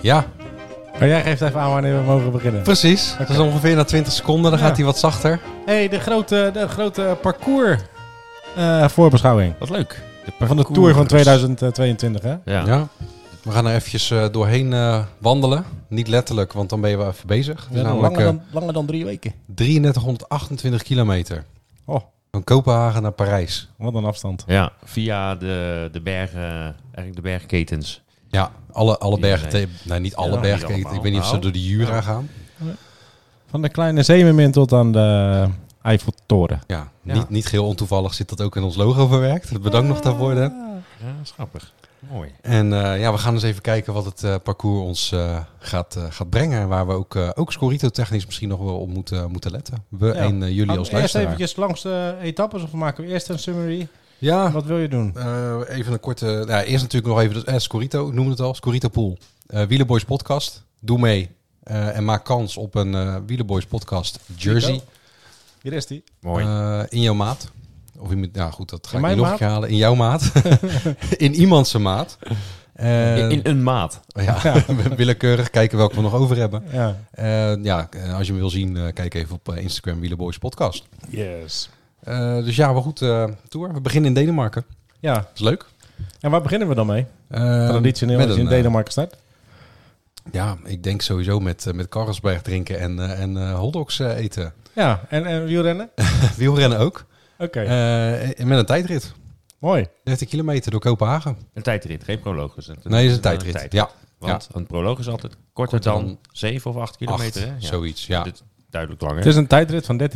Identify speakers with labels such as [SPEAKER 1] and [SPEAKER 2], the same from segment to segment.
[SPEAKER 1] Ja,
[SPEAKER 2] Maar jij geeft even aan wanneer we mogen beginnen.
[SPEAKER 1] precies. Dat is ongeveer na 20 seconden, dan
[SPEAKER 2] Ja.
[SPEAKER 1] gaat hij wat zachter.
[SPEAKER 2] hey, de grote, de grote parcours eh, voorbeschouwing.
[SPEAKER 3] Wat leuk.
[SPEAKER 2] Van de Tour van 2022, hè?
[SPEAKER 3] Ja.
[SPEAKER 1] Ja. We gaan er eventjes eh, doorheen eh, wandelen. Niet letterlijk, want dan ben je wel even bezig. Het is
[SPEAKER 2] nou
[SPEAKER 1] namelijk, eh,
[SPEAKER 2] langer dan drie weken.
[SPEAKER 1] 3328 kilometer.
[SPEAKER 2] Oh.
[SPEAKER 1] Van Kopenhagen naar Parijs.
[SPEAKER 2] Wat een afstand.
[SPEAKER 3] Ja, via de, de bergen, eigenlijk de bergketens.
[SPEAKER 1] Ja, alle, alle
[SPEAKER 3] Ja,
[SPEAKER 1] bergen.
[SPEAKER 3] nee.
[SPEAKER 1] te- nee, niet alle
[SPEAKER 3] Ja,
[SPEAKER 1] bergen.
[SPEAKER 3] niet
[SPEAKER 1] Ik- ik
[SPEAKER 3] allemaal,
[SPEAKER 1] weet niet of ze
[SPEAKER 3] nou.
[SPEAKER 1] door de Jura
[SPEAKER 3] Ja.
[SPEAKER 1] gaan.
[SPEAKER 2] Van de kleine zeemermin tot aan de Eiffeltoren.
[SPEAKER 1] Ja,
[SPEAKER 3] Ja.
[SPEAKER 1] Niet, niet geheel ontoevallig zit dat ook in ons logo verwerkt. Bedankt nog daarvoor, Dan.
[SPEAKER 3] Ja, dat is grappig. Mooi.
[SPEAKER 1] En eh, ja, we gaan eens even kijken wat het eh, parcours ons eh, gaat, eh, gaat brengen. En waar we ook, eh ook scorito-technisch misschien nog wel op moeten, moeten letten. We
[SPEAKER 2] Ja.
[SPEAKER 1] en eh, jullie als
[SPEAKER 2] eerst
[SPEAKER 1] luisteraar.
[SPEAKER 2] eventjes langs de etappes of maken we eerst een summary?
[SPEAKER 1] Ja,
[SPEAKER 2] Wat wil je doen?
[SPEAKER 1] Eh, even een korte. Nou, ja, eerst natuurlijk nog even. de- eh, Scorito, ik noemde het al. Scorito Pool. Eh Wielerboys Podcast. Doe mee. eh, en maak kans op een eh Wielerboys Podcast jersey.
[SPEAKER 2] Nico. Hier is die.
[SPEAKER 3] Mooi.
[SPEAKER 1] Eh, in jouw maat. Of in, nou goed, dat ga
[SPEAKER 2] In
[SPEAKER 1] ik
[SPEAKER 2] mijn
[SPEAKER 1] niet nog een keer
[SPEAKER 2] maat?
[SPEAKER 1] halen. In jouw maat. in iemands zijn maat. Eh,
[SPEAKER 3] in, in een maat.
[SPEAKER 1] ja, we- willekeurig kijken welke we nog over hebben.
[SPEAKER 2] Ja.
[SPEAKER 1] Eh, ja, eh, als je hem wil zien, eh, kijk even op eh, Instagram Wielerboys Podcast.
[SPEAKER 2] Yes.
[SPEAKER 1] Eh, dus ja, maar goed, eh Tour. We beginnen in Denemarken.
[SPEAKER 2] Ja,
[SPEAKER 1] Dat is leuk.
[SPEAKER 2] en waar beginnen we dan mee?
[SPEAKER 1] Eh,
[SPEAKER 2] Traditioneel
[SPEAKER 1] met
[SPEAKER 2] als je in
[SPEAKER 1] een, eh,
[SPEAKER 2] Denemarken start.
[SPEAKER 1] Ja, ik denk sowieso met, eh, met Carlsberg drinken en, eh, en eh, hotdogs eh, eten.
[SPEAKER 2] Ja, en, en wielrennen?
[SPEAKER 1] Wielrennen ook.
[SPEAKER 2] Oké,
[SPEAKER 1] Eh, en met een tijdrit.
[SPEAKER 2] mooi.
[SPEAKER 1] 30 kilometer door Kopenhagen.
[SPEAKER 3] Een tijdrit, geen proloog. Dus dat-
[SPEAKER 1] nee, is een tijdrit. Ja,
[SPEAKER 3] Want een proloog is altijd korter
[SPEAKER 1] Korter
[SPEAKER 3] dan
[SPEAKER 1] dan
[SPEAKER 3] 7 of 8
[SPEAKER 1] acht,
[SPEAKER 3] kilometer. hè? Ja.
[SPEAKER 1] zoiets. Ja.
[SPEAKER 3] Dit is duidelijk langer.
[SPEAKER 2] Het is een tijdrit van 13,4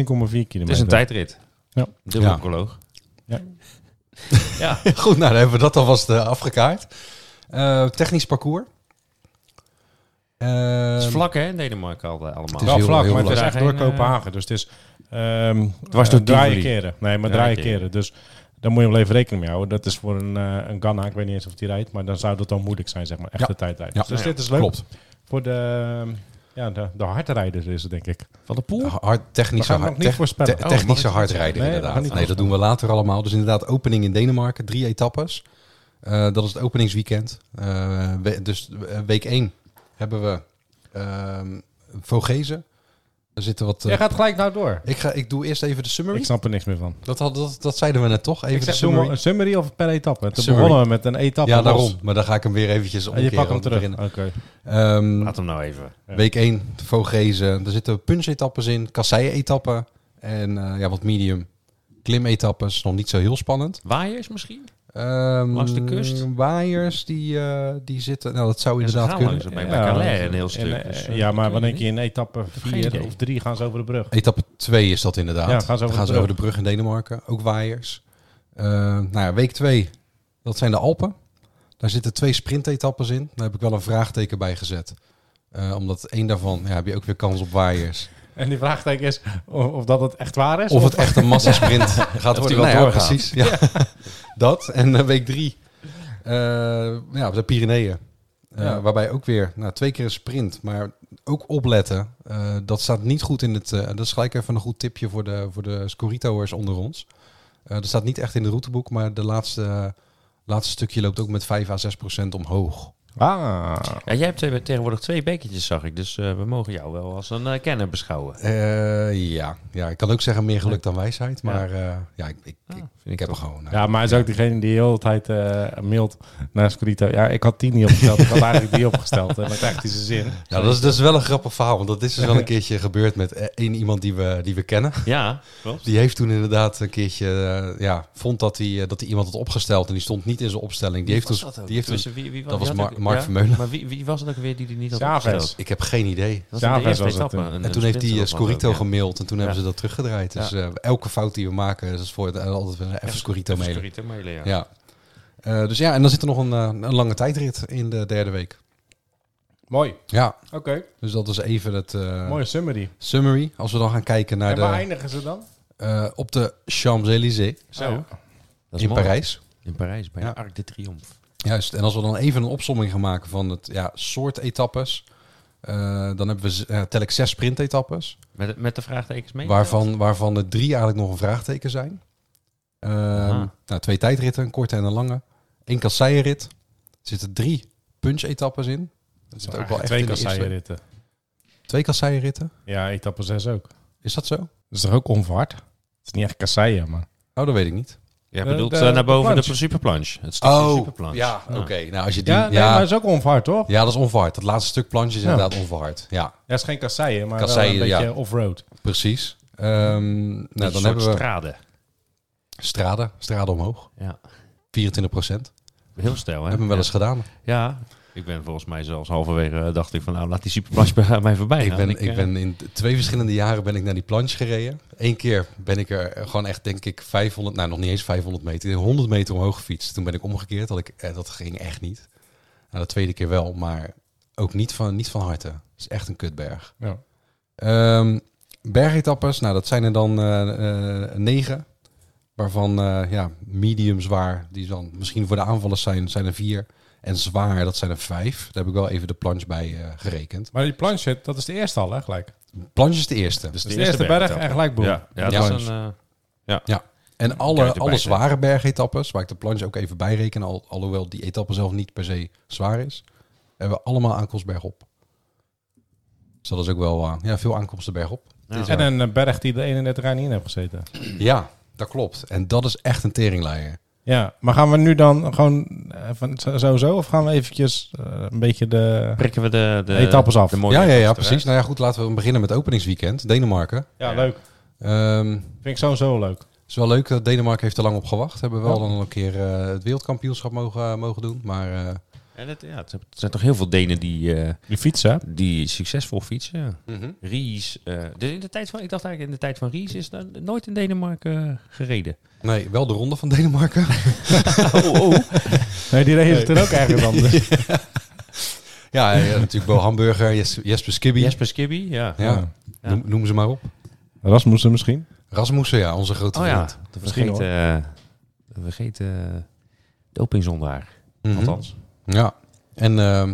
[SPEAKER 2] kilometer.
[SPEAKER 3] Het is een tijdrit.
[SPEAKER 2] Ja.
[SPEAKER 3] Dubbel
[SPEAKER 1] Ja.
[SPEAKER 3] proloog.
[SPEAKER 2] Ja.
[SPEAKER 3] ja.
[SPEAKER 1] Goed, nou dan hebben we dat alvast eh, afgekaart. Eh, technisch parcours.
[SPEAKER 3] Het
[SPEAKER 1] Eh,
[SPEAKER 3] is vlak hè, in Denemarken al, eh, allemaal.
[SPEAKER 1] Het
[SPEAKER 2] wel
[SPEAKER 1] is heel-
[SPEAKER 2] vlak,
[SPEAKER 1] heel
[SPEAKER 2] maar het is
[SPEAKER 3] vlak.
[SPEAKER 2] echt door
[SPEAKER 3] Daar geen, eh,
[SPEAKER 2] Kopenhagen. Dus het is ehm
[SPEAKER 3] was
[SPEAKER 2] eh,
[SPEAKER 3] door
[SPEAKER 2] draaien
[SPEAKER 3] Tivoli.
[SPEAKER 2] keren. Nee, maar
[SPEAKER 3] Draaien
[SPEAKER 2] draaien
[SPEAKER 3] keren.
[SPEAKER 2] keren. Dus daar moet je wel even rekening mee houden. Dat is voor een, eh, een Ghana, ik weet niet eens of die rijdt, maar dan zou dat dan moeilijk zijn, zeg maar. Echte
[SPEAKER 1] Ja.
[SPEAKER 2] tijdrijden.
[SPEAKER 1] Ja.
[SPEAKER 2] Dus
[SPEAKER 3] Ja,
[SPEAKER 2] dit is leuk.
[SPEAKER 1] Klopt.
[SPEAKER 2] Voor de, ehm, ja, de, de hardrijders is het, denk ik.
[SPEAKER 3] Van de poel?
[SPEAKER 1] Hard,
[SPEAKER 2] We
[SPEAKER 1] technische
[SPEAKER 2] gaan
[SPEAKER 1] hard,
[SPEAKER 2] nog niet
[SPEAKER 1] tech-
[SPEAKER 2] voorspellen.
[SPEAKER 1] te-
[SPEAKER 3] Oh, mag ik
[SPEAKER 1] technische
[SPEAKER 3] dat
[SPEAKER 1] hardrijden
[SPEAKER 2] Nee, we gaan
[SPEAKER 1] inderdaad.
[SPEAKER 2] niet
[SPEAKER 1] Nee, dat doen we later allemaal. Dus inderdaad, opening in Denemarken. Drie etappes. Eh, dat is het openingsweekend. Eh, we- dus eh, week 1 hebben we ehm Vogezen. Er zitten wat... eh,
[SPEAKER 2] Jij gaat gelijk nou door.
[SPEAKER 1] ik, ga, ik doe eerst even de summary.
[SPEAKER 2] Ik snap er niks meer van.
[SPEAKER 1] Dat, had, dat, dat zeiden we net toch? Even
[SPEAKER 2] ik
[SPEAKER 1] de
[SPEAKER 2] zeg, doen we
[SPEAKER 1] summary.
[SPEAKER 2] een summary of per etappe? Toen
[SPEAKER 1] Summary.
[SPEAKER 2] begonnen we met een etappe.
[SPEAKER 1] Ja,
[SPEAKER 2] los.
[SPEAKER 1] daarom. Maar dan ga ik hem weer eventjes
[SPEAKER 2] En je
[SPEAKER 1] omkeren.
[SPEAKER 2] pakt hem
[SPEAKER 1] om te
[SPEAKER 2] terug.
[SPEAKER 1] beginnen.
[SPEAKER 2] Oké.
[SPEAKER 1] Ehm,
[SPEAKER 3] Laat hem nou even.
[SPEAKER 2] Ja.
[SPEAKER 1] Week 1, Vogezen. Er zitten punch-etappes in, kasseien-etappen. En eh, ja, wat medium klim-etappes. Nog niet zo heel spannend.
[SPEAKER 3] Waaiers misschien?
[SPEAKER 1] Ehm,
[SPEAKER 3] Langs de kust?
[SPEAKER 1] Waaiers die, eh, die zitten... Nou, dat zou
[SPEAKER 3] Ja, ze
[SPEAKER 1] inderdaad
[SPEAKER 3] gaan
[SPEAKER 1] kunnen.
[SPEAKER 3] langs. Bij- bij Calais een heel
[SPEAKER 2] en,
[SPEAKER 3] stuk,
[SPEAKER 2] eh,
[SPEAKER 3] dus, eh,
[SPEAKER 2] ja, maar
[SPEAKER 3] dat
[SPEAKER 2] wat
[SPEAKER 3] weet
[SPEAKER 2] denk
[SPEAKER 3] ik
[SPEAKER 2] je in etappe
[SPEAKER 3] geen idee.
[SPEAKER 2] 4 of 3 gaan ze over de brug?
[SPEAKER 1] Etappe 2 is dat inderdaad.
[SPEAKER 2] Ja, gaan ze over
[SPEAKER 1] Dan
[SPEAKER 2] de brug.
[SPEAKER 1] in Denemarken. Ook waaiers. Eh, nou ja, week 2, dat zijn de Alpen. Daar zitten twee sprintetappes in. Daar heb ik wel een vraagteken bij gezet. Eh, omdat één daarvan ja, heb je ook weer kans op waaiers.
[SPEAKER 2] En die vraagteken is of, of dat het echt waar is.
[SPEAKER 1] Of het echt een massasprint gaat worden.
[SPEAKER 3] wel
[SPEAKER 1] Nou ja,
[SPEAKER 3] doorgaat.
[SPEAKER 1] precies. Ja. dat. En eh, week 3, ja, de Pyreneeën. Eh,
[SPEAKER 2] Ja.
[SPEAKER 1] Waarbij ook weer nou, twee keer een sprint, maar ook opletten. Eh, dat staat niet goed in het. eh, dat is gelijk even een goed tipje voor de, voor de Scorito'ers onder ons. Eh, dat staat niet echt in de routeboek, maar de laatste, laatste stukje loopt ook met 5 à 6 procent omhoog.
[SPEAKER 2] Ah.
[SPEAKER 3] Ja, jij hebt twee- tegenwoordig twee bekertjes, zag ik. Dus eh, we mogen jou wel als een eh, kenner beschouwen.
[SPEAKER 1] Eh, ja. ja, ik kan ook zeggen meer geluk dan wijsheid, maar eh, ja, ik, ik, ik, ik heb er gewoon. eh,
[SPEAKER 2] Ja, maar hij is ook degene die de hele tijd eh mailt naar Scorito. Ja, ik had die niet opgesteld. ik had eigenlijk die opgesteld. En dan krijgt hij zijn zin.
[SPEAKER 1] Ja, dat is dus wel een grappig verhaal. Want dat is dus wel een keertje gebeurd met eh, één iemand die we, die we kennen.
[SPEAKER 3] Ja, klopt.
[SPEAKER 1] Die heeft toen inderdaad een keertje... eh, ja, vond dat hij eh, dat hij iemand had opgesteld. En die stond niet in zijn opstelling. Die heeft toen... Die heeft toen
[SPEAKER 3] Tussen Dus wie, wie
[SPEAKER 1] dat was
[SPEAKER 3] die had
[SPEAKER 1] Mar-
[SPEAKER 3] ook-
[SPEAKER 1] Mark
[SPEAKER 3] Ja,
[SPEAKER 1] Vermeulen.
[SPEAKER 3] Maar wie, wie was het ook weer die die niet had
[SPEAKER 2] Chavez.
[SPEAKER 3] opgesteld?
[SPEAKER 1] Ik heb geen idee.
[SPEAKER 3] Dat was
[SPEAKER 2] Chavez
[SPEAKER 3] in de eerste
[SPEAKER 2] was het
[SPEAKER 3] etappe.
[SPEAKER 2] toen.
[SPEAKER 3] een-
[SPEAKER 1] En
[SPEAKER 3] een
[SPEAKER 1] toen heeft hij
[SPEAKER 3] sprint
[SPEAKER 1] eh,
[SPEAKER 3] was dat
[SPEAKER 1] Scorito
[SPEAKER 3] ook, ja.
[SPEAKER 1] gemaild en toen hebben
[SPEAKER 3] Ja.
[SPEAKER 1] ze dat teruggedraaid. Dus eh, elke fout die we maken is voor het, eh, altijd weer even Scorito
[SPEAKER 3] Even
[SPEAKER 1] mailen.
[SPEAKER 3] Scorito mailen, ja.
[SPEAKER 1] Ja. Eh, dus ja, en dan zit er nog een, eh, een lange tijdrit in de derde week.
[SPEAKER 2] Mooi.
[SPEAKER 1] Ja,
[SPEAKER 2] Oké,
[SPEAKER 1] dus dat was even het eh,
[SPEAKER 2] mooie summary.
[SPEAKER 1] summary. Als we dan gaan kijken naar
[SPEAKER 2] en waar
[SPEAKER 1] de,
[SPEAKER 2] eindigen ze dan?
[SPEAKER 1] eh, op de Champs-Élysées
[SPEAKER 2] Zo.
[SPEAKER 3] Oh, Dat is
[SPEAKER 1] in
[SPEAKER 3] mooi.
[SPEAKER 1] Parijs.
[SPEAKER 3] In Parijs, bij
[SPEAKER 1] Ja.
[SPEAKER 3] de Arc de Triomphe.
[SPEAKER 1] Juist, en als we dan even een opsomming gaan maken van het ja, soort etappes. eh, dan hebben we z- eh, tel ik zes sprintetappes.
[SPEAKER 3] Met, met de vraagtekens mee?
[SPEAKER 1] Waarvan, waarvan er drie eigenlijk nog een vraagteken zijn. Ehm,
[SPEAKER 3] Aha.
[SPEAKER 1] nou, twee tijdritten, een korte en een lange. Eén kasseienrit. Er zitten drie punch-etappes in. Dat zit ook wel echt
[SPEAKER 2] twee
[SPEAKER 1] in de eerste-
[SPEAKER 2] kasseienritten.
[SPEAKER 1] Twee kasseienritten?
[SPEAKER 2] Ja, etappe 6 ook. Dat
[SPEAKER 1] Is dat zo? Oh,
[SPEAKER 2] is toch ook onverhard? Het is niet echt kasseien, maar...
[SPEAKER 1] dat weet ik niet. Oh,
[SPEAKER 3] Ja,
[SPEAKER 2] De-
[SPEAKER 3] bedoelt
[SPEAKER 2] de-
[SPEAKER 3] eh, naar boven
[SPEAKER 2] de
[SPEAKER 3] de,
[SPEAKER 2] planche.
[SPEAKER 3] superplanche. Het stukje superplanche.
[SPEAKER 1] ja, oké. Nou, als je die...
[SPEAKER 2] Ja,
[SPEAKER 1] Ja,
[SPEAKER 2] nee, maar het is ook onverhard, toch? Ja,
[SPEAKER 1] ja, dat is onverhard. Dat laatste stuk planche is
[SPEAKER 2] Ja.
[SPEAKER 1] inderdaad onverhard. Ja,
[SPEAKER 2] het is geen kasseien, maar
[SPEAKER 1] Kasseien,
[SPEAKER 2] wel een beetje
[SPEAKER 1] ja.
[SPEAKER 2] off-road.
[SPEAKER 1] precies. Ehm, nou, dan hebben we
[SPEAKER 3] straden.
[SPEAKER 1] straden. Straden omhoog.
[SPEAKER 3] Ja.
[SPEAKER 1] 24 procent.
[SPEAKER 3] Heel stijl, hè?
[SPEAKER 1] Hebben we wel eens gedaan.
[SPEAKER 3] Ja. Ik ben volgens mij zelfs halverwege eh, dacht ik van nou laat die superplanche bij mij voorbij
[SPEAKER 1] Ik
[SPEAKER 3] gaan.
[SPEAKER 1] ben, ik,
[SPEAKER 3] eh,
[SPEAKER 1] ben in t- twee verschillende jaren ben ik naar die planche gereden. Eén keer ben ik er gewoon echt, denk ik, 500, nou nog niet eens 500 meter, 100 meter omhoog gefietst. Toen ben ik omgekeerd, dat, ik, eh, dat ging echt niet. Nou, de tweede keer wel, maar ook niet van, niet van harte. Het is echt een kutberg.
[SPEAKER 2] Ja.
[SPEAKER 1] Ehm, bergetappes, nou dat zijn er dan eh, eh, negen. Waarvan eh, ja, medium zwaar, die dan misschien voor de aanvallers zijn, zijn er vier. En zwaar, dat zijn er vijf. Daar heb ik wel even de planche bij eh, gerekend.
[SPEAKER 2] Maar die planche, dat is de eerste al, hè, gelijk. Dat
[SPEAKER 1] Planche is de eerste.
[SPEAKER 3] dus
[SPEAKER 2] is de eerste berg en gelijk boom.
[SPEAKER 3] Ja, ja,
[SPEAKER 1] Ja.
[SPEAKER 3] dat is een... eh,
[SPEAKER 1] En
[SPEAKER 3] Kijk
[SPEAKER 1] alle,
[SPEAKER 3] erbij,
[SPEAKER 1] alle
[SPEAKER 3] hè.
[SPEAKER 1] zware bergetappes, waar ik de planche ook even bij reken, al, alhoewel die etappe zelf niet per se zwaar is, hebben we allemaal aankomstberg op. Dus dat is ook wel eh, ja, veel aankomsten bergop.
[SPEAKER 3] ja.
[SPEAKER 2] En een eh, berg die de 31 jaar niet in heeft gezeten.
[SPEAKER 1] Ja, dat klopt. En dat is echt een teringleier.
[SPEAKER 2] Ja, maar gaan we nu dan gewoon eh, van zo- zo zo? Of gaan we eventjes eh, een beetje de...
[SPEAKER 3] prikken we de, de
[SPEAKER 2] Etappes af.
[SPEAKER 3] De mooie
[SPEAKER 1] Ja, ja, ja,
[SPEAKER 3] etappes
[SPEAKER 1] precies. Nou ja, goed, laten we beginnen met openingsweekend. Denemarken.
[SPEAKER 2] Ja,
[SPEAKER 3] Ja.
[SPEAKER 2] leuk.
[SPEAKER 1] Ehm,
[SPEAKER 2] Vind ik sowieso leuk.
[SPEAKER 1] het is wel leuk dat Denemarken heeft er lang op gewacht. Hebben wel
[SPEAKER 2] Ja.
[SPEAKER 1] dan een keer eh, het wereldkampioenschap mogen, mogen doen. Maar eh,
[SPEAKER 3] eruit. En het, ja, het zijn- het zijn toch heel veel Denen die, eh,
[SPEAKER 2] Die fietsen,
[SPEAKER 3] die succesvol fietsen. ja.
[SPEAKER 1] Mhm.
[SPEAKER 3] Ries. eh, dus in de tijd van, ik dacht eigenlijk in de tijd van Ries is er nooit in Denemarken eh, gereden.
[SPEAKER 1] nee, wel de ronde van Denemarken.
[SPEAKER 3] Oh, oh.
[SPEAKER 2] Nee, die reden toen ook ergens anders.
[SPEAKER 1] ja, ja, natuurlijk Bo Hamburger, Jes- Jesper Skibby.
[SPEAKER 3] Jesper Skibby, ja.
[SPEAKER 1] Ja,
[SPEAKER 3] Ja.
[SPEAKER 1] Noem, noem ze maar op.
[SPEAKER 2] Rasmussen misschien.
[SPEAKER 1] Rasmussen, ja, onze grote
[SPEAKER 3] Oh ja,
[SPEAKER 1] vriend.
[SPEAKER 3] de
[SPEAKER 2] Misschien
[SPEAKER 3] vergeten, eh, de vergeten eh, dopingzondaar,
[SPEAKER 1] Mhm.
[SPEAKER 3] althans.
[SPEAKER 1] Ja, en ehm,